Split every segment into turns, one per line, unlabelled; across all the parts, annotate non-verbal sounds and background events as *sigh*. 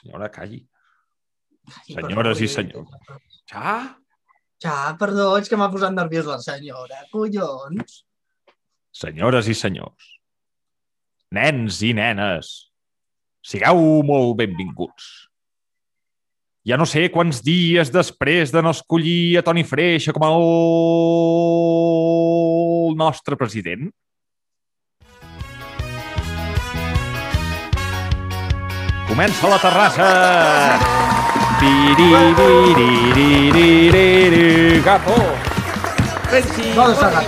Senyora, calli. Senyores i senyors. Ja?
Ja, perdó, és que m'ha posat nerviós la senyora. Collons.
Senyores i senyors. Nens i nenes. Sigueu molt benvinguts. Ja no sé quants dies després de no escollir a Toni Freixa com el nostre president, Comença la terrassa! Piririririri, capo! Renzi,
Vamos, Sara.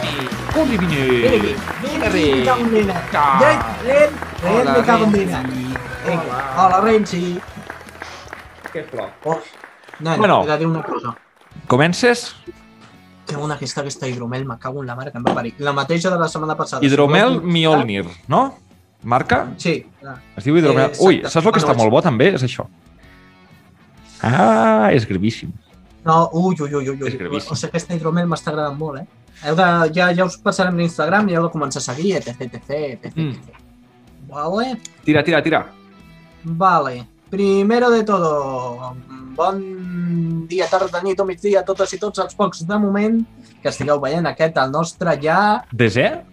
Culi Vini!
Renzi, cago en nena. Ren, Ren, Ren, me cago en nena. Vinga, hola, Renzi.
Que flor.
Oh, nena,
Bueno.
bueno. he de dir una cosa.
Comences?
Que una aquesta, aquesta hidromel, me cago en la mare que em va parir. La mateixa de la setmana passada.
Hidromel
Si vols-
Mjolnir, no? Marca?
Sí, clar.
Es diu Hidromel.
Eh,
Ui,
exacte.
saps el que està
Bueno,
molt bo també? És això. Ah, és gravíssim.
No, ui, ui, ui, ui.
És
ui.
gravíssim.
O sigui, aquesta hidromel m'està agradant molt, eh? Heu de, ja, ja us passarem l'Instagram i heu de començar a seguir, etc, etc, etc. Mm. Vale.
Tira, tira, tira.
Vale. Primero de todo, bon dia, tarda, nit o migdia a totes i tots els pocs de moment que estigueu veient aquest, el nostre ja
Desè?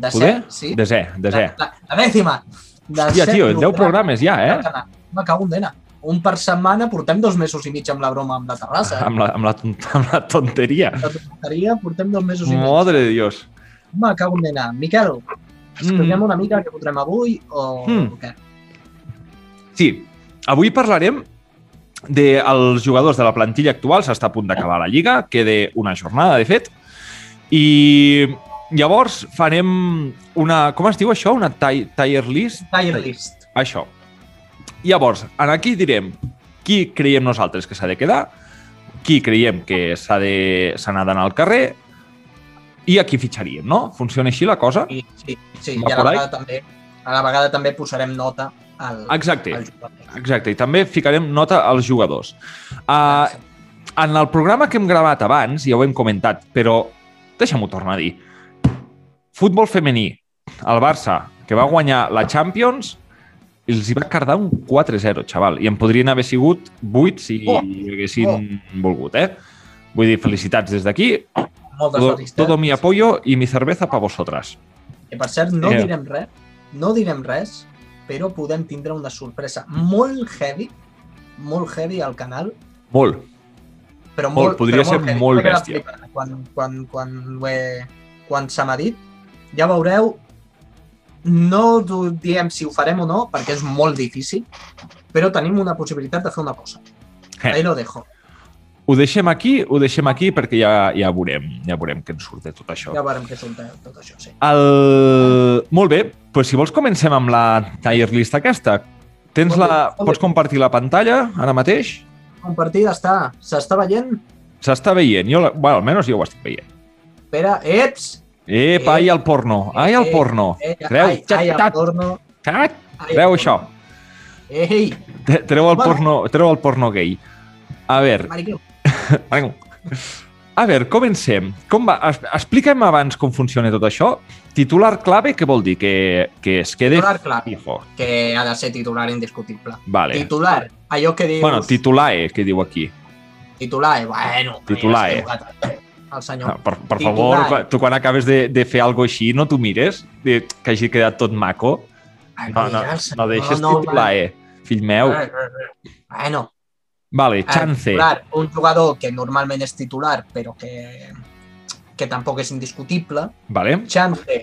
de
Poder?
set, sí?
Desè, desè.
La, la, la dècima. De
Hòstia,
set
tio, 10
programes
programes ja,
del
eh?
canal. Me cago en dena. Un per setmana, portem dos mesos i mig amb la broma amb la terrassa. eh?
Amb la, amb la, ton- amb la tonteria.
La tonteria, portem dos mesos i mig.
Madre de Dios.
Me cago en dena. Miquel, expliquem una mica què fotrem avui o
Mm.
què?
Sí, avui parlarem dels jugadors de la plantilla actual, s'està a punt d'acabar la Lliga, queda una jornada, de fet, i llavors farem una... Com es diu això? Una ti- tier list?
Tire list.
Això. Llavors, en aquí direm qui creiem nosaltres que s'ha de quedar, qui creiem que s'ha de- se n'ha d'anar al carrer i a qui fitxaríem, no? Funciona així la cosa?
Sí, sí, sí.
Va
i a la
por ahí?
vegada també a la vegada també posarem nota al,
Exacte.
al jugador.
Exacte, i també ficarem nota als jugadors. Uh, en el programa que hem gravat abans, ja ho hem comentat, però deixa'm-ho tornar a dir. Futbol femení, el Barça, que va guanyar la Champions, els hi va cardar un 4-0, xaval, i en podrien haver sigut 8 si
Oh,
haguessin volgut, eh? Vull dir, felicitats des d'aquí.
Moltes
Todo,
felicitats.
todo mi apoyo y mi cerveza para vosotras.
eh? Que per cert, no
Yeah.
direm res, no direm res, però podem tindre una sorpresa molt heavy, molt heavy al canal,
Molt.
però
Molt,
molt,
podria
però
ser
heavy.
molt
M'he quedat
bèstia.
flipant Quan, quan, quan, ho he, quan se m'ha dit, ja veureu, no us ho diem si ho farem o no, perquè és molt difícil, però tenim una possibilitat de fer una cosa.
Eh.
Ahí lo dejo.
Ho deixem aquí, ho deixem aquí perquè ja, ja veurem, ja veurem què ens surt de tot això.
Ja veurem què surt de tot això, sí.
El... Molt bé, doncs si vols comencem amb la tier list aquesta. Tens
Molt bé,
la...
molt bé.
Pots compartir la pantalla ara mateix?
Compartida està, s'està veient?
S'està veient, jo la... bueno, almenys jo ho estic veient.
Espera, eps!
Epa, ai el porno, ai el
Eh,
porno.
Eh,
Treu,
ai, ai,
xat,
el
xat,
torno.
xat,
Ai,
treu
el
això,
torno. Ei,
Tre- treu el
Bueno.
porno, treu el porno gay. A veure,
maricó.
Vinga. A veure, comencem. Com va? Es- Explica'm abans com funciona tot això. Titular clave, què vol dir? Que, que es quede
Titular clave.
fijo.
Que ha de ser titular indiscutible.
Vale.
Titular, allò que dius...
bueno, titulae, que diu aquí.
titular, eh, bueno...
Titular, eh.
ja s'ha equivocat, El
Ah,
senyor.
Per, per
Titular.
favor, quan- tu quan acabes de, de fer alguna així, no t'ho mires? De, que hagi quedat tot maco? No, no,
Mira, el senyor,
no deixes eh, titulae, fill meu.
Bueno,
Vale,
eh,
chance.
titular, un jugador que normalment és titular, però que, que tampoc és indiscutible.
Vale,
Chance,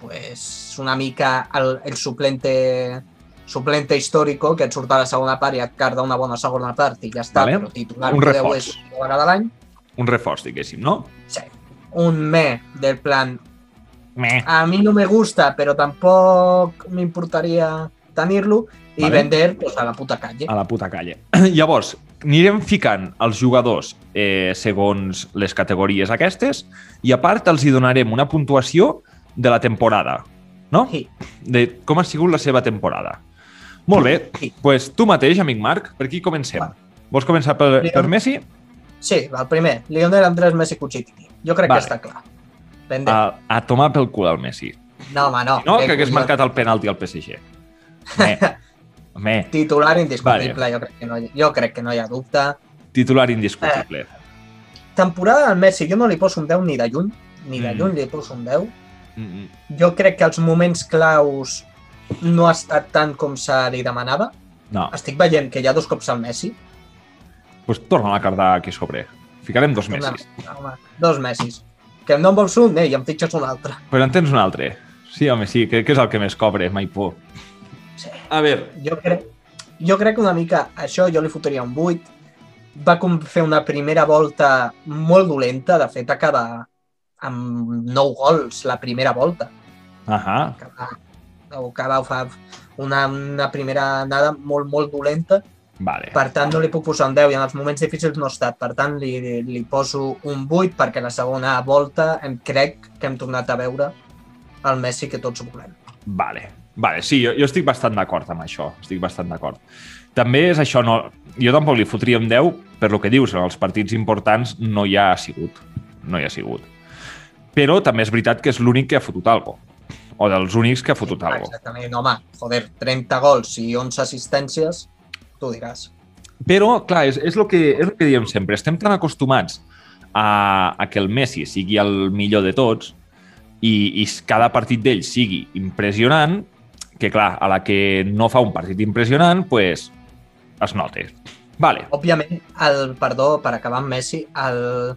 pues una mica el, el suplente suplente histórico que et surt a la segona part i et carda una bona segona part i ja està,
Vale.
però titular
Un
podeu
reforç.
és una vegada a l'any.
un reforç, diguéssim, no?
Un me del plan,
Meh.
a mí no me gusta, pero tampoco me importaría tenerlo y
Vale. Ah.
vender pues, a la puta calle.
A la puta calle. *clears throat* Llavors, anirem ficant els jugadors eh, segons les categories aquestes i a part els hi donarem una puntuació de la temporada, no?
Sí.
De com ha sigut la seva temporada. Molt bé,
Sí.
doncs pues, tu mateix, amic Marc, per aquí comencem.
Va. doncs,
Vols començar per,
Mira.
per Messi?
Sí, el primer, Lionel Andrés Messi Cuchitini. Jo crec
Vale.
que està clar. Vender.
A, a tomar pel cul al Messi.
no, home, no.
No,
Eh,
que hagués
collons. *laughs*
marcat el penalti al PSG. Eh, Home,
Titular indiscutible, jo, crec que no, hi- jo crec que no hi ha dubte.
titular indiscutible.
Eh. Temporada del Messi, jo no li poso un 10 ni de lluny, ni de
Mm.
lluny li poso un 10.
Mm, mm.
Jo crec que els moments claus no ha estat tant com se li demanava.
No,
Estic veient que hi ha dos cops al Messi.
doncs pues torna a cardar aquí sobre. Ficarem dos
Una-
mesos.
Home, dos Messis. Que no en vols un, eh, i em fitxes un altre.
Però en tens un altre. Sí, home, sí, que, que és el que més cobre, mai por.
Sí.
A veure,
Jo crec, jo crec que una mica això jo li fotria un 8. Va com fer una primera volta molt dolenta, de fet acaba amb 9 gols la primera volta.
ahà,
Que va, o que va fa una, una primera anada molt, molt dolenta.
vale.
Per tant, no li puc posar un 10 i en els moments difícils no ha estat. Per tant, li, li poso un 8 perquè la segona volta em crec que hem tornat a veure el Messi que tots volem.
Vale. Vale, sí, jo, jo estic bastant d'acord amb això, estic bastant d'acord. També és això, no, jo tampoc li fotria un 10 per lo que dius, en els partits importants no hi ha sigut, no hi ha sigut. Però també és veritat que és l'únic que ha fotut algo, o dels únics que ha fotut algo.
Exactament, home, joder, 30 gols i 11 assistències, tu diràs.
Però, clar, és, és, el que, és el que diem sempre. Estem tan acostumats a, a que el Messi sigui el millor de tots i, i cada partit d'ell sigui impressionant que, clar, a la que no fa un partit impressionant, pues, es nota. Vale.
Òbviament, el, perdó, per acabar amb Messi, el,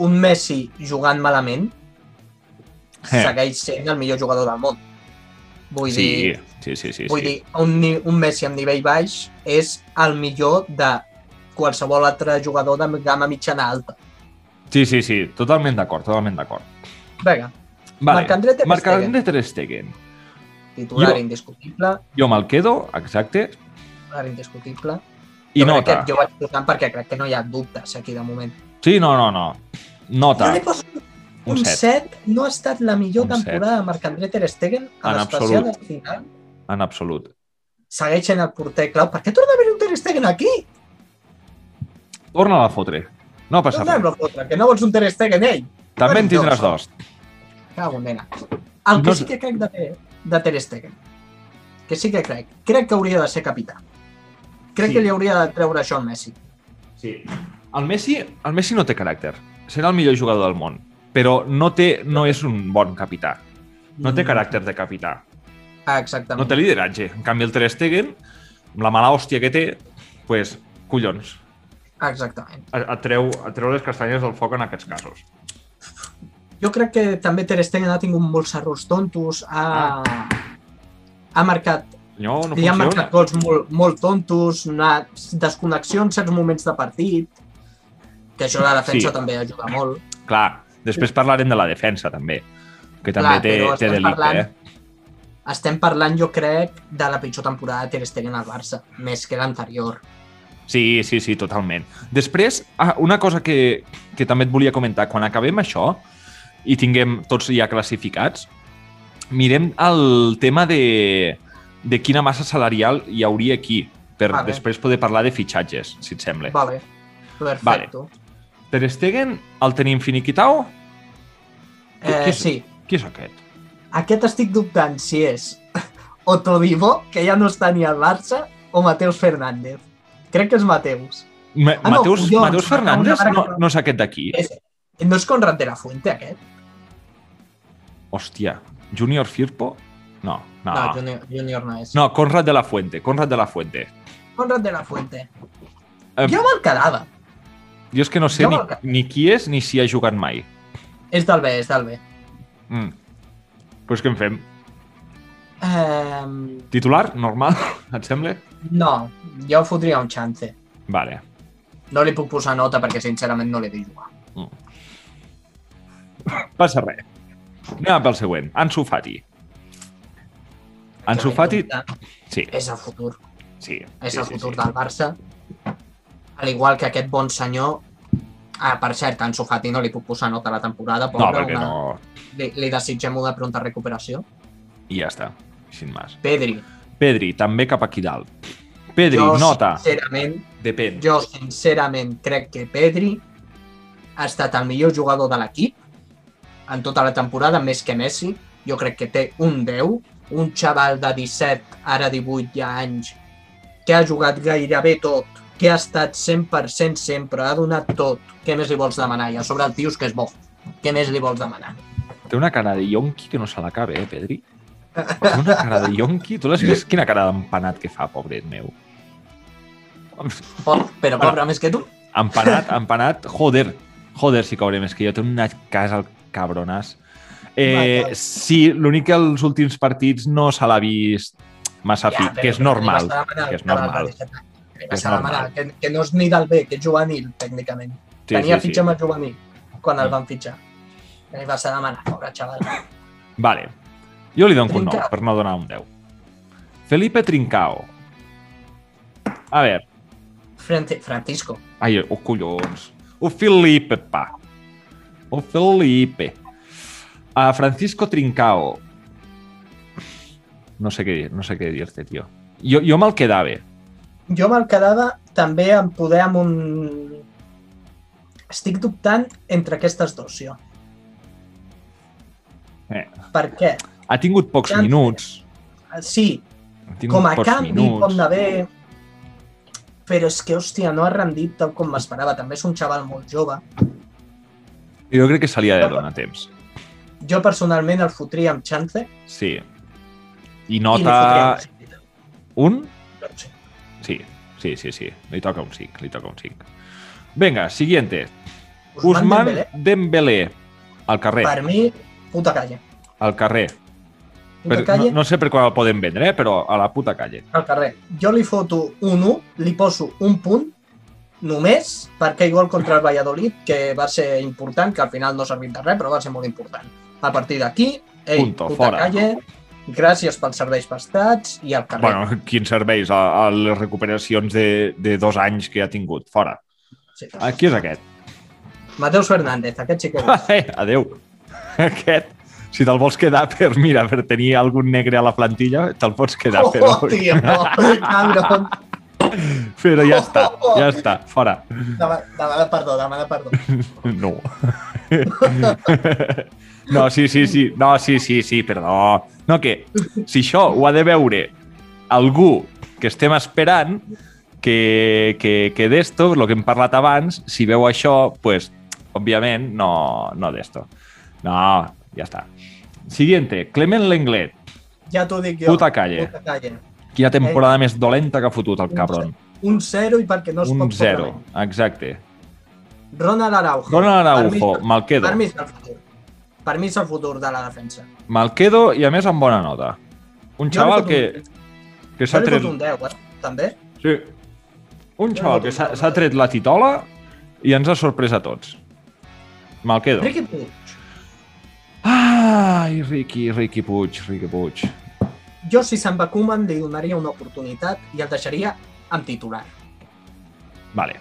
un Messi jugant malament
Eh.
segueix sent el millor jugador del món. Vull sí,
Sí,
dir,
sí, sí. sí,
vull
sí.
dir un, ni- un Messi amb nivell baix és el millor de qualsevol altre jugador de gamma mitjana alta.
sí, sí, sí. Totalment d'acord, totalment d'acord.
Vinga,
Vale.
Marc-André Ter Stegen.
Marc-André Ter Stegen.
titular
Jo-
indiscutible,
Jo me'l quedo, exacte,
titular indiscutible.
i
jo, crec
nota.
que, jo vaig posant perquè crec que no hi ha dubtes aquí de moment.
Sí, no, no, no.
Jo
Nota,
li poso
un
Un
7,
7 no ha estat la millor
Un
temporada de Marc-André Ter Stegen, en,
En
especial
absolut.
al final.
en absolut.
Segueix en el porter clau. Per què torna a haver un Ter Stegen aquí?
Torna-la a fotre. No passa res.
Torna-lo a fotre, que no vols un Ter Stegen, ell.
També en
Bueno,
tindràs dos.
Cago, en nena. El que
No-
sí que crec de, Ter- de Ter Stegen, que sí que crec, crec que hauria de ser capità. Crec
Sí.
que li hauria de treure això al Messi.
Sí. El Messi, el Messi no té caràcter. Serà el millor jugador del món, però no, té, no és un bon capità. No té
Mm.
caràcter de capità.
Ah,
No
exactament.
té lideratge. En canvi, el Ter Stegen, amb la mala hòstia que té, pues, collons,
Exactament.
atreu, atreu les castanyes del foc en aquests casos.
Jo crec que també Ter Stegen ha tingut molts errors tontos, ha,
Ah.
ha marcat
Senyor, no
Li han
funciona.
marcat gols molt, molt tontos, una desconnexió en certs moments de partit, que això la defensa
Sí.
també ajuda molt.
Clar, després parlarem de la defensa, també, que també
Clar,
té,
però
té
estem
delicte.
parlant-
Eh?
Estem parlant, jo crec, de la pitjor temporada de Ter Stegen al Barça, més que l'anterior.
Sí, sí, sí, totalment. Després, ah, una cosa que, que també et volia comentar, quan acabem això i tinguem tots ja classificats, mirem el tema de, de quina massa salarial hi hauria aquí, per
Vale.
després poder parlar de fitxatges, si et sembla.
Vale, perfecto.
Ter Stegen, el tenim finiquitau? Qui-
Eh,
qui és-
sí,
Qui és aquest?
aquest estic dubtant si és *laughs* o Todibo, que ja no està ni al Barça, o Mateus Fernández. Crec que és Mateus.
Ma
Ah, no,
Mateus, Mateus
collons, m'acabo de
Fernández
parar
no,
que-
no és aquest d'aquí.
És, no és Conrad de la Fuente, aquest?
Hòstia, Junior Firpo? No, no.
No,
No,
junior, junior no és.
no Conrad de la Fuente, Conrad de la Fuente.
Conrad de la Fuente.
Eh,
Ja me'l quedava.
Jo és que no sé
Jo
ni,
me'l-
ni qui és ni si ha jugat mai.
És del B, és del B.
Mm. Pues què en fem?
Um,
Titular? Normal? *laughs* Et sembla?
no, jo fotria un chance.
Vale.
No li puc posar nota perquè sincerament no l'he de jugar.
Passa res. Anem pel següent. Ansu Fati. Ansu Fati... Sí,
És el futur.
sí.
És
sí,
el
sí,
futur
sí.
del Barça. Al igual que aquest bon senyor... Ah, per cert, a Ansu Fati no li puc posar nota a la temporada.
No,
pobre,
perquè
una-
no...
Li, li desitgem una pronta recuperació.
I ja està. Sin més.
Pedri,
Pedri, també cap aquí dalt. Pedri,
jo
nota.
sincerament,
Depèn.
jo sincerament crec que Pedri ha estat el millor jugador de l'equip en tota la temporada, més que Messi. Jo crec que té un 10 un xaval de 17, ara 18 ja anys, que ha jugat gairebé tot, que ha estat 100% sempre, ha donat tot, què més li vols demanar? I a sobre el tio és que és bo. Què més li vols demanar?
Té una cara de yonqui que no se l'acaba, eh, Pedri? Té una cara de yonqui? Tu l'has vist?
*laughs*
Quina cara d'empanat que fa, pobret meu.
Pot, Oh, però cobra més que tu.
Empanat, *laughs* empanat, joder. Joder, si cobré més que jo. Té una casa al cabronàs. Eh,
Vaja.
sí, l'únic que els últims partits no se l'ha vist massa fi,
però
que és
li vas
normal.
a demanar
Que és
al xaval
normal.
de 17 anys, li
Que
vas
és
a demanar,
normal.
Que, que no és ni del B, que és juvenil, tècnicament.
Sí,
Tenia
sí, sí.
fitxa amb el juvenil, quan el
Mm.
van fitxar. I vas a demanar, pobre xaval.
Vale. Jo li dono un 9
Trincao.
per no donar un 10. Felipe Trincao. A veure,
Frente, Francisco.
ai, oh, collons. O Felipe, pa. O Felipe. A Francisco Trincao. No sé què dir, no sé què dir-te, tio. Jo, jo me'l quedava.
Jo me'l quedava també en poder amb un... Estic dubtant entre aquestes dues, jo.
Eh.
Per què?
Ha tingut pocs
Chance.
minuts.
Sí,
Ha tingut
com a
pocs
canvi,
minuts.
com de bé... Però és que, hòstia, no ha rendit tal com m'esperava. També és un xaval molt jove.
Jo crec que se li ha de donar temps.
Jo, personalment, el fotria amb Chance
Sí. I
i li fotria
nota...
amb Chance. Doncs
Un?
No ho sé.
Sí, sí, sí, sí. Li toca un 5, li toca un 5. Vinga, siguiente.
Ousmane
Usman Dembélé.
Dembélé,
Al carrer,
Per mi, puta calle.
al carrer.
Puta
Per-
calle,
no, no sé per quan el poden vendre, eh, però a la puta calle.
al carrer. Jo li foto un 1, li poso un punt, només perquè el gol contra el Valladolid, que va ser important, que al final no ha servit de res, però va ser molt important. A partir d'aquí, ei,
Punto,
puta
fora.
calle, gràcies pels serveis prestats i al carrer.
Bueno, quins serveis a, a les recuperacions de, de dos anys que ha tingut. Fora.
Sí.
Ah, Qui és aquest? *laughs*
Mateus Fernández, aquest sí que... ho és.
Eh, adeu. Aquest, si te'l vols quedar per, mira, per tenir algun negre a la plantilla, te'l pots quedar,
Oh,
però,
tio, *laughs* cabron.
però
*laughs*
ja està, ja està, fora.
Demana, demana perdó, demana perdó.
No. *laughs* No, sí, sí, sí. No, sí, sí, sí, perdó. No, que si això ho ha de veure algú que estem esperant que, que, que d'esto, el que hem parlat abans, si veu això, pues, òbviament, no, no d'esto. No, ja està. Siguiente, Clement Lenglet.
Ja t'ho dic jo.
Puta calle.
Puta calle.
Quina temporada més dolenta que ha fotut el cabron.
Un 0 i perquè no es
Un
pot...
zero, exacte.
cobrar. Ronald Araujo.
Ronald Araujo,
Per mi-
me'l quedo.
Per mi és el futur. Per mi és el futur de la defensa.
Me'l quedo i, a més, amb bona nota. Un
Jo li
xaval
foto
que,
un-
que
Jo
s'ha
li
tret...
foto un 10, eh? també.
Sí. Un
Jo
xaval
no
que s'ha
tinc
s'ha tret la titola i ens ha sorprès a tots. Me'l quedo.
Ricky Puig.
Ai, Riqui, Riqui Puig, Riqui Puig.
Jo, si se'n va Koeman, li donaria una oportunitat i el deixaria amb titular.
Vale,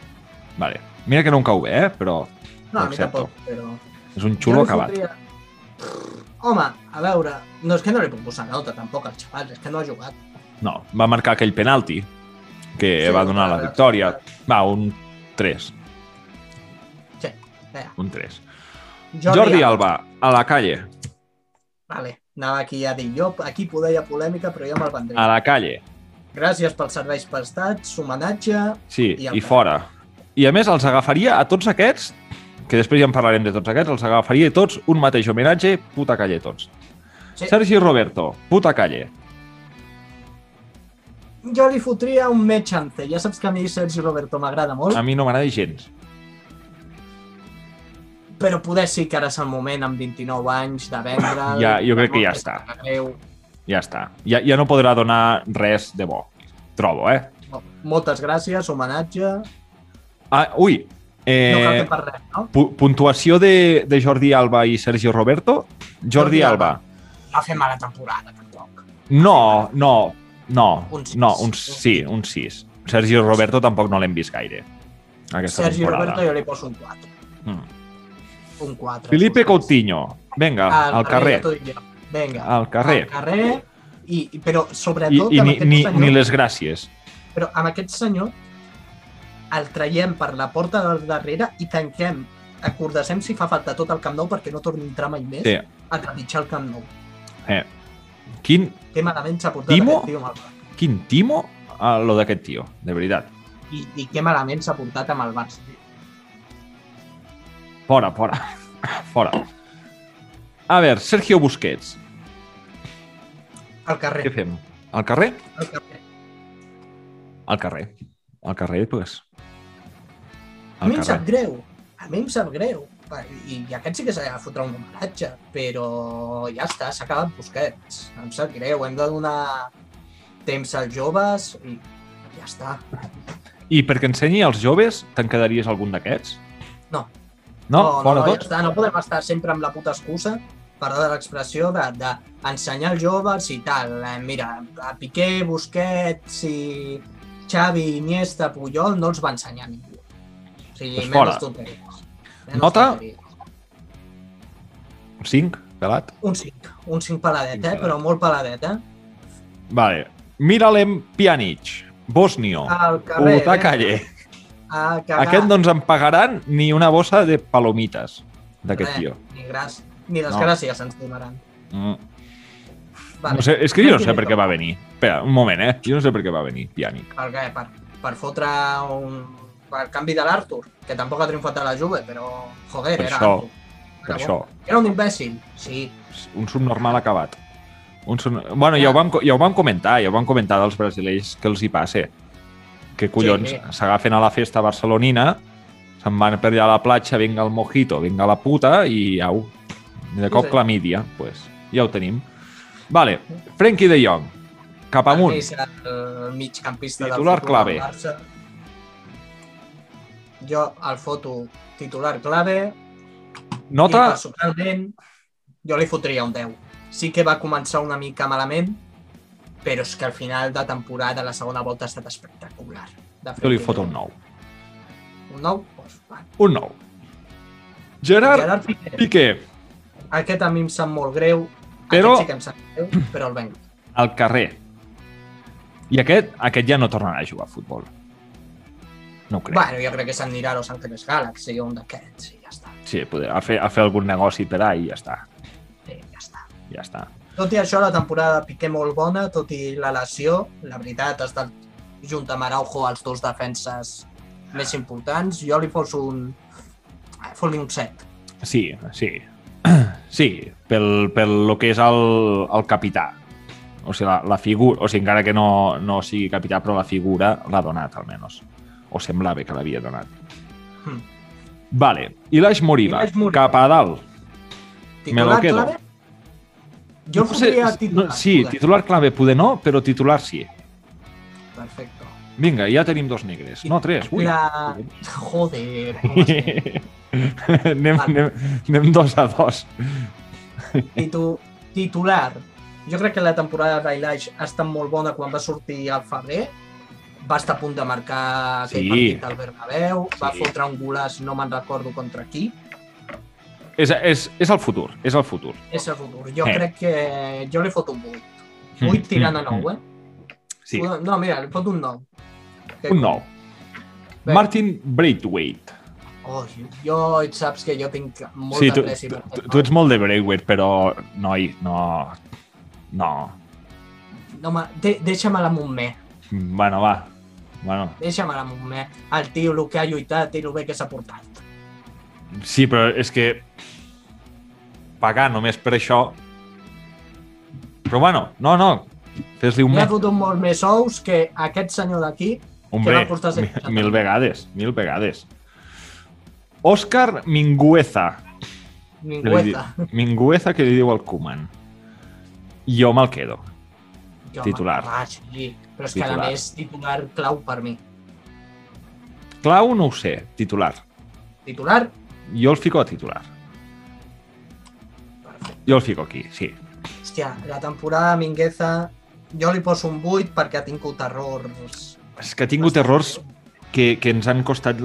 vale. Mira que no em cau bé, eh? però
No, a mi
Excepto.
tampoc, però...
és un
Jo
xulo
li
acabat.
fotria- Home, a veure, no és que no li puc posar nota tampoc al xaval, és que no ha jugat.
No, va marcar aquell penalti que
Sí,
va donar la
clar,
victòria.
clar.
Va, un 3,
Vinga,
un 3. Jordi, Alba, a la calle,
Vale, anava aquí a dir jo, aquí poderia polèmica, però jo me'l vendré.
a la calle.
Gràcies pels serveis prestats, homenatge...
Sí,
I
i,
el
i fora. I a més, els agafaria a tots aquests, que després ja en parlarem de tots aquests, els agafaria tots un mateix homenatge, puta calle tots.
Sí.
Sergi Roberto, puta calle.
Jo li fotria un metxante. Ja saps que a mi Sergi Roberto m'agrada molt,
A mi no m'agrada gens.
però poder sí que ara és el moment, amb 29 anys, de vendre...
Ja, jo crec que ja està. Ja està. Ja, ja no podrà donar res de bo. Trobo, eh?
Moltes gràcies, homenatge...
Ah, ui,
No cal
eh,
que parlem, no?
pu- puntuació de, de Jordi Alba i Sergi Roberto. Jordi
Jordi Alba.
Alba.
Va fer mala temporada, tampoc.
No, no, no.
Un sis.
No, un, sí, un 6. Sergi Roberto tampoc no l'hem vist gaire. Aquesta
Sergi
temporada.
Roberto jo li poso un 4.
Mm.
Un 4.
Felipe Coutinho. Vinga, al carrer.
ja t'ho dic jo. Vinga.
Al carrer.
Al carrer. I, i- però
I,
sobretot
i
amb
ni,
aquest
ni,
senyor...
ni les gràcies.
Però amb aquest senyor el traiem per la porta del darrere i tanquem, acordacem si fa falta tot el Camp Nou perquè no torni a entrar mai més
Sí.
a trepitjar el Camp Nou.
eh. Quin
que malament s'ha portat
Timo?
aquest tio amb el Barça.
Quin timo a lo d'aquest tio, de veritat.
I, i que malament s'ha portat amb el Barça. tio.
Fora, fora. *coughs* Fora. A veure, Sergio Busquets.
Al carrer.
Què fem? Al carrer?
Al carrer.
Al carrer. Al carrer, doncs.
A
Al
mi em sap
carrer.
greu, a mi em sap greu. I, i aquest sí que s'ha de fotre un homenatge, però ja està, s'ha acabat Busquets. Em sap greu, hem de donar temps als joves i ja està.
I perquè ensenyi als joves, te'n quedaries algun d'aquests?
No.
No? Fora
no,
tots?
Ja està, no podem estar sempre amb la puta excusa, perdó de l'expressió, de- d'ensenyar de, als joves i tal. Eh, Mira, a Piqué, Busquets i Xavi, Iniesta, Puyol no els va ensenyar ningú. O sigui,
Doncs
pues
fora.
menys tonteries. Menys
Nota?
tonteries.
Cinc? Pelat?
Un 5, un 5 paladet,
Cinc
eh?
paladet.
però molt paladet. Eh?
Vale. Miralem Pjanic. Bosnio.
Al carrer, eh,
Bogotà Oh. Calle.
a cagar.
Aquest no ens en pagaran ni una bossa de palomites d'aquest
Res,
tio.
Ni, gràcies, ni les
No.
gràcies ens donaran.
Mm.
Vale.
No sé, és que jo no sé
Quin
per què va venir. Espera, un moment, eh? Jo no sé per què va venir Pjanic.
Per què? Per, per fotre un... Per canvi de l'Arthur, que tampoc ha triomfat a la Juve, però... Joder,
Per
era
això.
Arthur.
Per
Era
això,
bo. Era un imbècil, sí.
un subnormal acabat. Un sub... Bueno,
Ah.
ja ho, vam, co- ja ho vam comentar, ja ho vam comentar dels brasileis que els hi passe. Que collons,
sí.
s'agafen a la festa barcelonina, se'n van per allà a la platja, vinga el mojito, vinga la puta, i au. De cop
Sí.
clamídia, doncs pues, ja ho tenim. Vale, Frenkie de Jong, cap amunt.
És el migcampista
Titular
del futur
clave.
del Barça. Jo el foto titular clave,
Nota,
I personalment, jo li fotria un 10. Sí que va començar una mica malament, però és que al final de temporada, la segona volta ha estat espectacular. De
jo li foto un 9.
Un 9? Pues, va.
Un 9. Gerard
Gerard Piqué,
Piqué,
aquest a mi em sap molt greu,
Però-
aquest sí que em sap greu, però el venc.
al carrer. I aquest, aquest ja no tornarà a jugar a futbol. No ho crec.
Bueno, jo crec que s'anirà a Los Angeles Galaxy o un d'aquests, i ja està.
Sí, poder, a, fer, a fer algun negoci per ahí i ja està.
Sí, ja està.
Ja està.
Tot i això, la temporada de Piqué molt bona, tot i la lesió, la veritat, ha estat junt amb Araujo els dos defenses més importants. Jo li poso un... eh, Fot-li un 7.
Sí, sí. *clears throat* Sí, pel, pel lo que és el, el capità. O sigui, la, la figura, o sigui, encara que no, no sigui capità, però la figura l'ha donat, almenys. O semblava que l'havia donat.
Hmm.
Vale. I l'Aix Moriba,
Ilaix Moriba.
cap a dalt. Me lo quedo.
clave? Jo no
No sé,
fotria titular.
no, sí,
joder.
titular clave poder no, però titular sí.
Perfecto.
Vinga, ja tenim dos negres. No, tres. Ui.
La... Joder. com es diu?
*laughs* anem, anem, anem dos a dos.
Titu... Titular. Jo crec que la temporada d'Ailash ha estat molt bona quan va sortir al febrer. Va estar a punt de marcar aquell
Sí.
partit al Bernabéu. Va
Sí.
fotre un golaç, no me'n recordo contra qui.
És, és, és el futur, és el futur.
És el futur. Jo
Eh. Mm-hmm.
crec que... Jo li foto un 8. 8 tirant a 9, eh?
Sí,
No, mira, li foto un 9.
un nou.
Bé.
Martin Braithwaite.
Oh, jo et saps que jo tinc molta
Sí, tu,
pressió per
tu,
aquest
tu ets molt de Braithwaite, però, noi, no... No.
No, home, de, deixa-me-la amb un me.
Bueno, va. Bueno,
Deixa-me-la amb un me. El tio, el que ha lluitat i el bé que s'ha portat.
sí, però és que pagar només per això... Però bueno, no, no, fes-li un
Li ha
mes.
fotut molt més ous que aquest senyor d'aquí.
Hombre,
va portar
mi-
sense-
mil vegades, mil vegades. Òscar Mingueza. que li di-
Ningüeta.
Mingueza que li diu al Koeman. Jo me'l quedo.
Jo,
Titular.
Ah, sí. Però és que
Titular.
a més, titular clau per mi.
Clau no ho sé, titular.
Titular,
Jo el fico a titular.
perfecte.
Jo el fico aquí, sí.
Hòstia, la temporada de Mingueza, jo li poso un 8 perquè ha tingut errors.
És que ha tingut errors que, que ens han costat...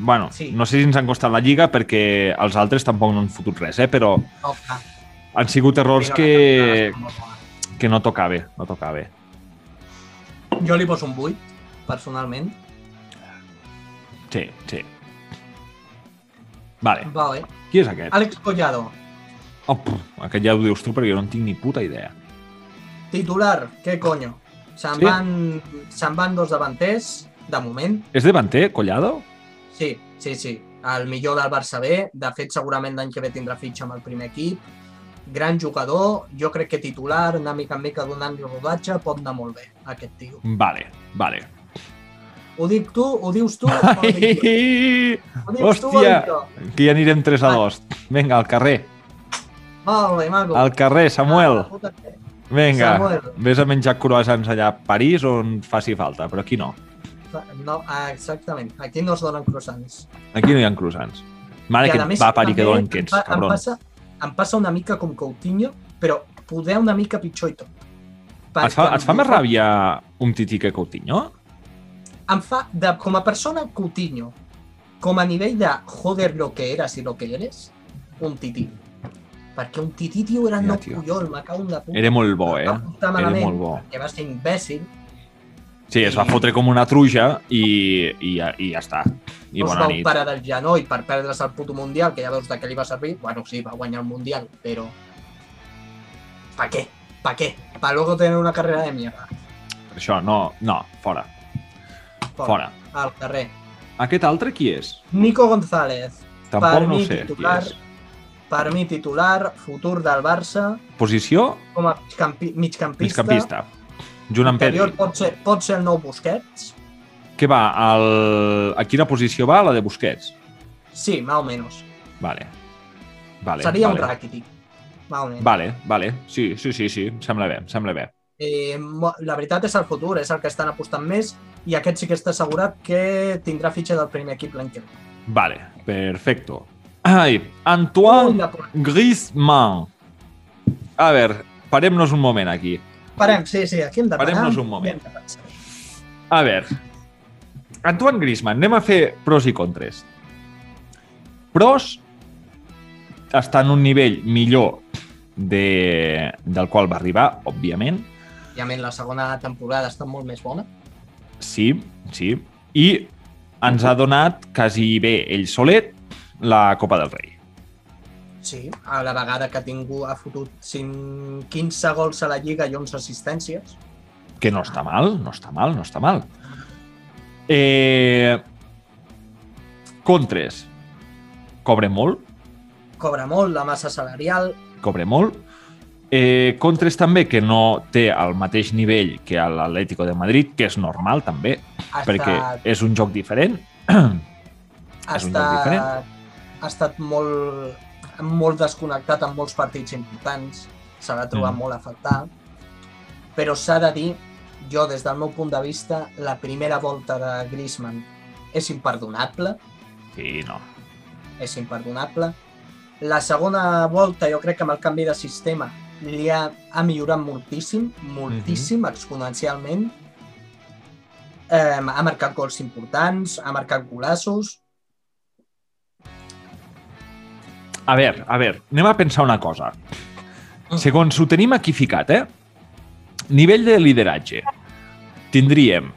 Bueno,
Sí.
no sé si ens han costat la Lliga perquè els altres tampoc no han fotut res, eh? però
No, clar,
han sigut errors
però la temporada
que,
és molt bona.
que no tocava, no tocava.
Jo li poso un 8, personalment.
Sí, sí. Vale,
Va bé.
qui és aquest?
Àlex Collado,
Oh, pff, aquest ja ho dius tu perquè jo no en tinc ni puta idea.
Titular, què conyo? Se'n
Sí.
van, se'n van dos davanters, de moment.
És davanter, Collado?
Sí, sí, sí. El millor del Barça B. De fet, segurament l'any que ve tindrà fitxa amb el primer equip. Gran jugador, jo crec que titular, una mica en mica donant-li rodatge, pot anar molt bé, aquest tio.
Vale, vale.
Ho dic tu, ho dius tu, o ho dic jo? Ho dius tu, ho
*laughs* Hòstia.
dic jo?
Aquí ja anirem 3 a 2. Vinga, al carrer.
Molt bé, maco.
Al carrer, Samuel.
Ah, puta que-
Vinga,
Samuel.
vés a menjar croissants allà a París on faci falta, però aquí no.
No, ah, exactament. Aquí no es donen croissants.
Aquí no hi ha croissants. Mare
I
que
a més,
va parir que
també
dolen
em
que ets,
pa- Em
cabron.
passa, em passa una mica com Coutinho, però poder una mica pitjor i tot.
Et fa,
Perquè
et fa
em-
més ràbia un tití que Coutinho?
em fa, de, com a persona, Coutinho, com a nivell de joder lo que eras y lo que eres, un tití. Perquè un tití, tio, era
Ja,
ja, no
tio.
collol, me cago en la puta.
Era molt bo, eh?
Va apuntar
Era
Ah, malament,
molt bo.
Que va ser imbècil,
Sí, es va
I-
fotre com una truja i, i, ja- i ja està. I
no es
bona
va
nit.
operar del genoll per perdre's el puto Mundial, que ja veus de què li va servir. Bueno, sí, va guanyar el Mundial, però... Pa què? Pa què? Pa luego tenir una carrera de mierda.
Per Això, no, no, fora, fora.
Al carrer.
Aquest altre qui és?
Nico González,
Tampoc
per
no
mi
sé qui
titular,
és.
per mi titular, futur del Barça,
Posició?
com a migcampi, migcampista.
Migcampista. Junt amb Pedri.
Interior pot ser, pot ser el nou Busquets?
Què va? El... A quina posició va? La de Busquets?
Sí, más o menos.
Vale. vale
Seria
vale.
un Rakitic. Más o menos.
Vale, vale. Sí, sí, sí, sí. Em sembla bé, em sembla bé.
Eh, mo- la veritat és el futur, és el que estan apostant més i aquest sí que està assegurat que tindrà fitxa del primer equip l'any que ve.
Vale, perfecto. Ai,
Ui,
Antoine
la por-
Griezmann. A veure, parem-nos un moment aquí.
Parem, sí, sí, aquí hem de
Parem-nos un moment. A veure, Antoine Griezmann, anem a fer pros i contres. Pros està en un nivell millor de, del qual va arribar, òbviament,
I a més, la segona temporada està molt més bona.
Sí, sí. I ens ha donat quasi bé ell solet la Copa del Rei.
Sí, a la vegada que ha tingut, ha fotut cinc- 15 gols a la Lliga i 11 assistències.
Que no està mal, no està mal, no està mal. Eh... Contres. Cobre molt,
Cobra molt, la massa salarial,
cobre molt. Eh, contres també que no té el mateix nivell que a l'Atlético de Madrid, que és normal també,
ha
perquè
estat
és un joc diferent.
ha
És un lloc
estat,
diferent.
ha estat molt, molt desconnectat en molts partits importants, se l'ha trobat
Mm.
molt a faltar, però s'ha de dir, jo des del meu punt de vista, la primera volta de Griezmann és imperdonable,
Sí, no.
és imperdonable. La segona volta, jo crec que amb el canvi de sistema, li ha, ha millorat moltíssim, moltíssim,
Mhm.
exponencialment. Eh, ha marcat gols importants, ha marcat golaços,
A veure, a veure, anem a pensar una cosa.
Mm.
Segons ho tenim aquí ficat, eh? Nivell de lideratge. Tindríem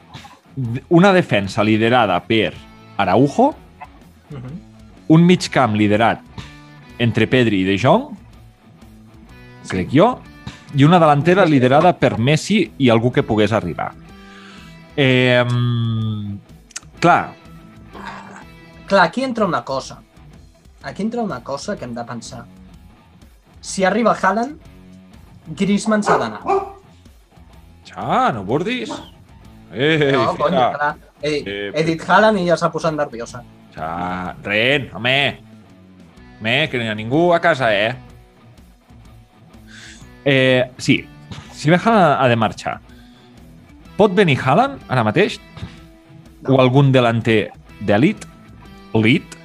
una defensa liderada per Araujo,
Mhm.
un mig camp liderat entre Pedri i De Jong, crec jo, i una delantera liderada per Messi i algú que pogués arribar. Eh, clar,
Clar, aquí entra una cosa. Aquí entra una cosa que hem de pensar. Si arriba Haaland, Griezmann s'ha d'anar.
ja, no bordis. Eh,
No, coño,
fira.
clar. He dit,
Eh,
he dit Haaland i ja s'ha posat nerviosa.
Ja, ren, home. Home, que no hi ha ningú a casa, eh? Eh, sí, si ve Haaland ha de marxar. Pot venir Haaland ara mateix?
No.
O algun delanter d'elit? Lit?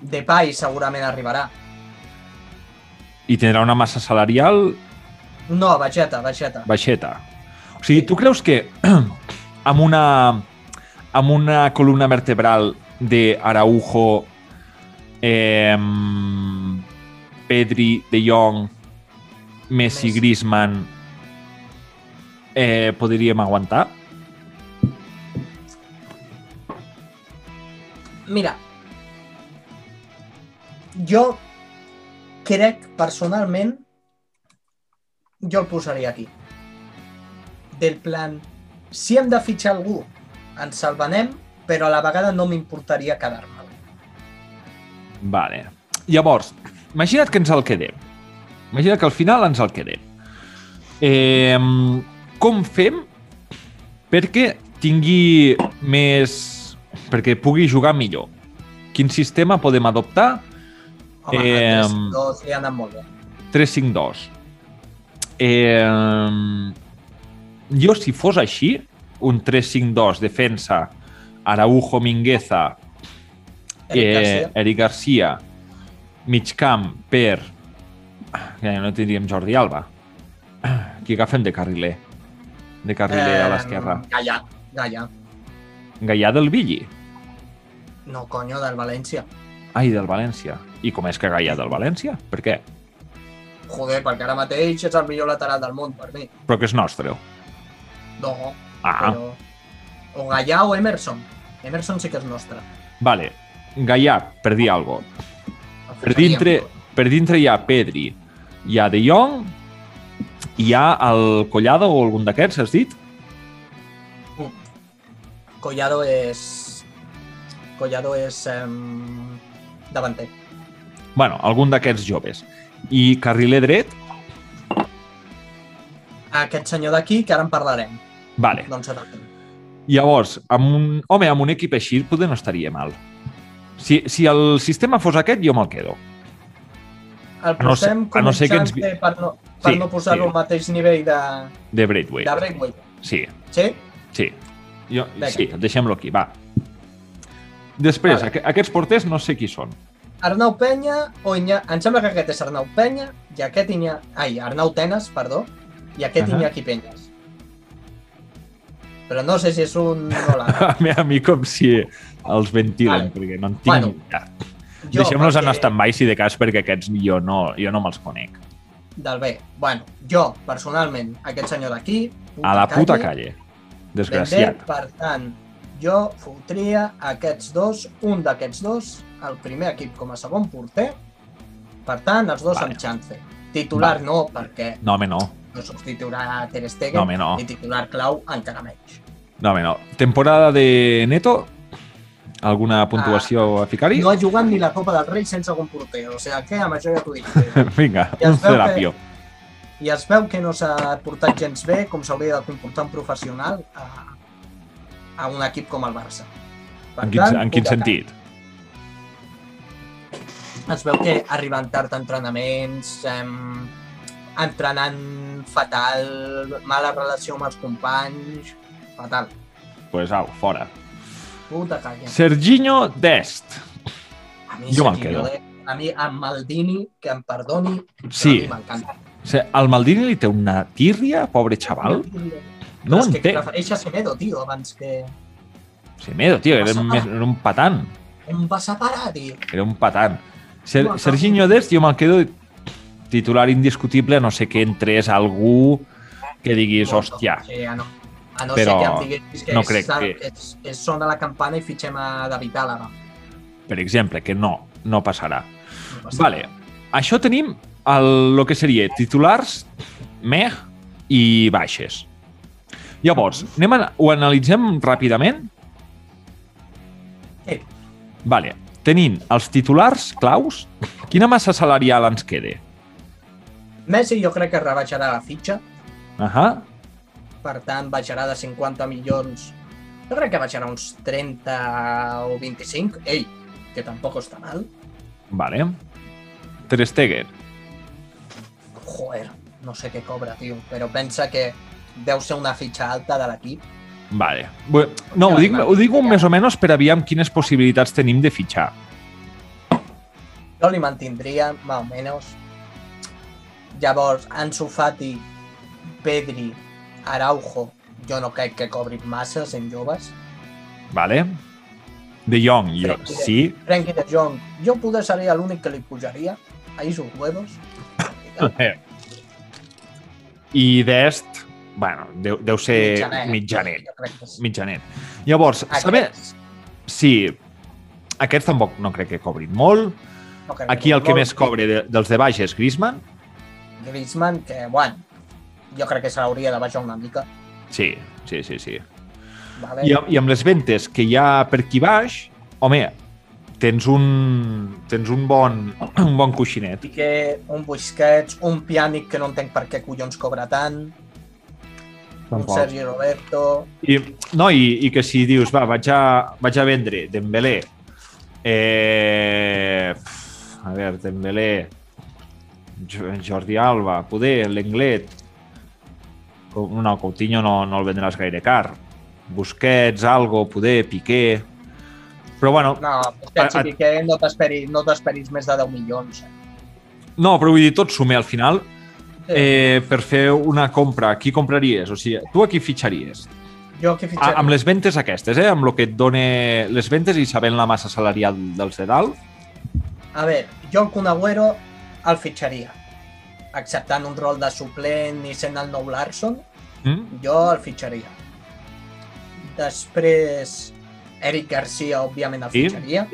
Depay segurament arribarà.
I tindrà una massa salarial
No, baixeta, baixeta.
baixeta. O sigui, tu creus que *clears throat* amb una, amb una columna vertebral de Araujo, eh, Pedri, De Jong, Messi,
Messi.
Griezmann, eh, podríem aguantar?
Mira, jo crec personalment jo el posaria aquí. Del plan, si hem de fitxar algú, ens salvanem, però a la vegada no m'importaria quedar-me'l.
Vale. Llavors, imagina't que ens el quedem. Imagina't que al final ens el quedem. Eh, com fem perquè tingui més... perquè pugui jugar millor? Quin sistema podem adoptar? Eh,
Home, eh, els
em-
dos li ha anat molt bé.
3-5-2. Eh, jo, si fos així, un 3-5-2 defensa Araujo, Mingueza,
Eric
eh,
Garcia.
Eric Garcia, mig camp per... Ja no tindríem Jordi Alba. Qui agafem de carriler? De carriler eh, a l'esquerra.
Gallà, Gallà.
Gaià del Villi.
No, conyo, del València.
Ai, del València. I com és que Gaià del València? Per què?
Joder, perquè ara mateix és el millor lateral del món per mi.
Però que és nostre.
No,
Ah,
però... O Gallà o Emerson. Emerson sí que és nostre.
vale. Gaià, per dir alguna cosa.
El
Per
ficaríem.
dintre, per dintre hi ha Pedri, hi ha De Jong, hi ha el Collado o algun d'aquests, has dit?
Collado és... Collado és... Um, davanter.
bueno, algun d'aquests joves. I carriler dret,
Aquest senyor d'aquí, que ara en parlarem.
vale.
Doncs atacant.
Llavors, amb un, home, amb un equip així poder no estaria mal. Si, si el sistema fos aquest, jo me'l quedo.
El
no ser-
posem
a
com
no
no
ser
sé
que
que
ens
ens...
vi-
per no, per
Sí,
no posar-lo
sí.
al mateix nivell de,
De Braithwaite.
de Braithwaite.
Sí,
Sí?
sí. Jo,
Vinga.
sí, deixem-lo aquí, va. Després,
Vale.
aqu aquests porters no sé qui són. *laughs*
Arnau Penya o Iña... Em sembla que aquest és Arnau Penya i aquest Iña... Ai, Arnau Tenes, perdó, i aquest
Ahà.
Iñaki Penyes. Però no sé si és un hola.
A mi, a mi com si els ventilen,
Vale. perquè
perquè no en tinc
Bueno,
bueno, Deixem-los anar estan mai, si de cas, perquè aquests jo no, jo no me'ls conec.
Del bé. Bueno, jo, personalment, aquest senyor d'aquí... puta
A la puta calle. Desgraciat.
Vendrell, per tant, jo fotria aquests dos, un d'aquests dos, el primer equip com a segon porter. Per tant, els dos
Vale.
amb xance. Titular no, perquè
No, home, no.
no substituirà Ter Stegen,
No, home, no.
i titular clau encara menys.
No, home, no. Temporada de Neto? Alguna puntuació a ficar-hi?
Ah, No ha jugat ni la Copa del Rei sense segon porter, o sigui que amb això ja
*laughs*
t'ho dic.
Vinga,
Ja
un
es veu que-
terapio.
I es veu que no s'ha portat gens bé com s'hauria de comportar un professional a, a un equip com el Barça. Per
En quin,
tant,
en quin
puta cara.
sentit?
es veu que arriben tard a entrenaments, em, entrenant fatal, mala relació amb els companys, fatal,
Doncs pues, au, fora.
puta calla.
Serginho Dest.
A mi,
jo me'n
Sergio
quedo.
Dest, A mi, amb Maldini, que em perdoni, però
Sí.
a mi m'encanta.
Se- Al Maldini li té una tírria, pobre xaval? No ho
és que
entenc.
prefereix a Semedo, tio, abans que...
Semedo, tio, era, un-
Passa-
era un patant.
Em vas a parar, tio.
Era un patant. Ser,
Bueno,
Serginho Dest, jo me'l quedo titular indiscutible, a no sé que entrés algú que diguis, hòstia,
Sí, eh, a no, a no
Però
ser que em diguis que,
no
és-
crec
que...
que-
És, és, sona la campana i fitxem a David Àlava.
per exemple, que no, no passarà.
No passa
Vale, això tenim el, el que seria titulars, meh i baixes. Llavors, anem a, ho analitzem ràpidament?
Sí.
Vale, tenint els titulars claus, quina massa salarial ens quede?
Messi jo crec que rebaixarà la fitxa,
Ahà,
per tant baixarà de 50 milions jo crec que baixarà uns 30 o 25 ei, que tampoc està mal
vale. Ter Stegen,
joder, no sé què cobra, tio però pensa que deu ser una fitxa alta de l'equip
Vale. Bé, No, ho
Ja,
dic,
clar.
ho dic un més o menys per aviam quines possibilitats tenim de fitxar.
jo li mantindria, més o menys llavors, Ansu Fati Pedri, Araujo jo no crec que cobrin masses en joves
Vale? De Jong, jo,
Frenkie de-
sí.
Frenkie de Jong, jo poder seria l'únic que li pujaria ahí sus huevos
Eh. I d'est, bueno, deu, deu ser
Mitjanet.
mitjanet.
jo crec que sí.
Mitjanet. Llavors, saber
Aquests.
si aquests tampoc no crec que cobrin molt.
No crec
Aquí el que
molt.
més cobre de, dels de baix és Griezmann.
Griezmann, que, bueno, jo crec que se l'hauria de baixar una mica.
Sí, sí, sí, sí.
Vale?
I, amb- I amb les ventes que hi ha per aquí baix, home, tens un, tens un bon, un bon coixinet.
Piqué, un Busquets, un Pjanic que no entenc per què collons cobra tant, un
Tampoc.
Sergi Roberto...
I, no, i, i que si dius, va, vaig a, vaig a vendre Dembélé, eh, pf, a veure, Dembélé, Jo- Jordi Alba, poder, l'Englet, Com- no, Coutinho no, no el vendràs gaire car, Busquets, Algo, poder, Piqué... Però bueno,
No, Busquets
A- a-
i Piqué no t'esperis no t'esperis més de 10 milions. eh?
no, però vull dir, tot sumé al final eh, per fer una compra. Qui compraries? O sigui, tu a qui fitxaries?
Jo que
A,
fitxaré.
amb les ventes aquestes, eh? amb el que et dona les ventes i sabent la massa salarial dels de dalt.
A veure, jo en Kun Agüero el fitxaria. Acceptant un rol de suplent i sent el nou Larson,
Mm?
jo el fitxaria. Després, Eric Garcia, òbviament, el
Sí.
fitxaria.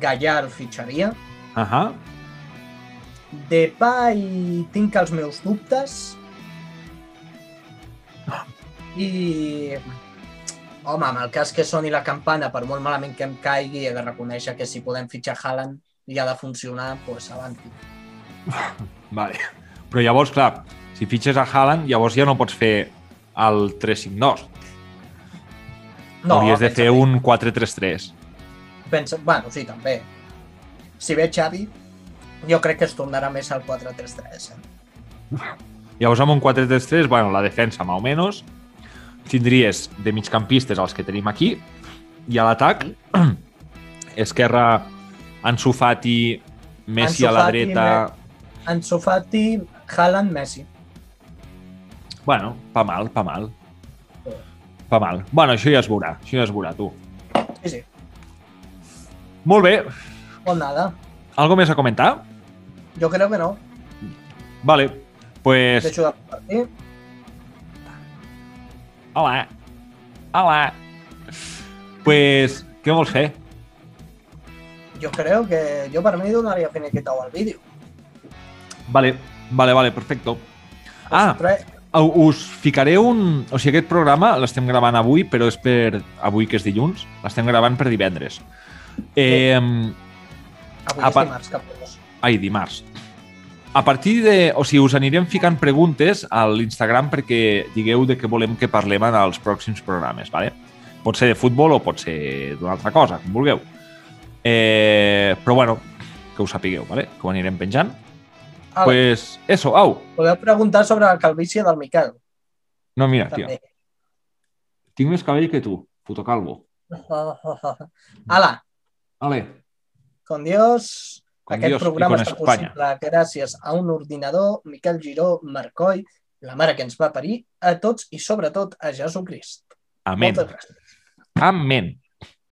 Gallà el fitxaria.
Ahà.
Depay tinc els meus dubtes.
*gasps*
I... Home, amb el cas que soni la campana, per molt malament que em caigui, he de reconèixer que si podem fitxar Haaland i ha de funcionar, doncs avanti.
Vale. Però llavors, clar, si fitxes a Haaland, llavors ja no pots fer el 3-5-2. No, Hauries de
pensa-
fer un 4-3-3.
Pensa, bueno, sí, també. Si ve Xavi, jo crec que es tornarà més al 4-3-3. Eh?
Llavors, amb un 4-3-3, bueno, la defensa, més o menys, tindries de migcampistes els que tenim aquí, i a l'atac, *clears throat* esquerra, Ansu Fati, Messi
Ansu
a la
Fati,
dreta...
Ansu Fati, Haaland, Messi.
Bueno, pa mal, pa mal. Pa mal. Bueno, això ja es veurà, això ja es veurà, tu.
Sí, sí.
Molt bé,
Pues nada,
algo més a comentar?
jo crec que no.
Vale, pues...
Deixo de compartir.
Hola. Hola. Pues, què vols fer?
Yo creo que yo para mí donaría finiquitado al vídeo.
Vale, vale, vale, perfecto. Ah,
Tres-
u- us ficaré un... O sigui, aquest programa l'estem gravant avui, però és per... Avui, que és dilluns, l'estem gravant per divendres. Eh,
avui
apa.
és dimarts, cap de dos.
Ai, dimarts. A partir de... O sigui, us anirem ficant preguntes a l'Instagram perquè digueu de què volem que parlem en els pròxims programes, vale? Pot ser de futbol o pot ser d'una altra cosa, com vulgueu. Eh, però bueno, que ho sapigueu, vale? que ho anirem penjant.
Ah, pues...
pues eso, au!
Podeu preguntar sobre la calvície del Miquel,
No, mira, tio,
també. *laughs*
tinc més cabell que tu, puto calvo.
Ala,
Ale,
con Dios.
con
Aquest
Dios i
programa
con
està
Espanya.
possible gràcies a un ordinador, Miquel Giró, Marcoll, la mare que ens va parir, a tots i sobretot a Jesucrist.
Amén.
Moltes gràcies.
Amén.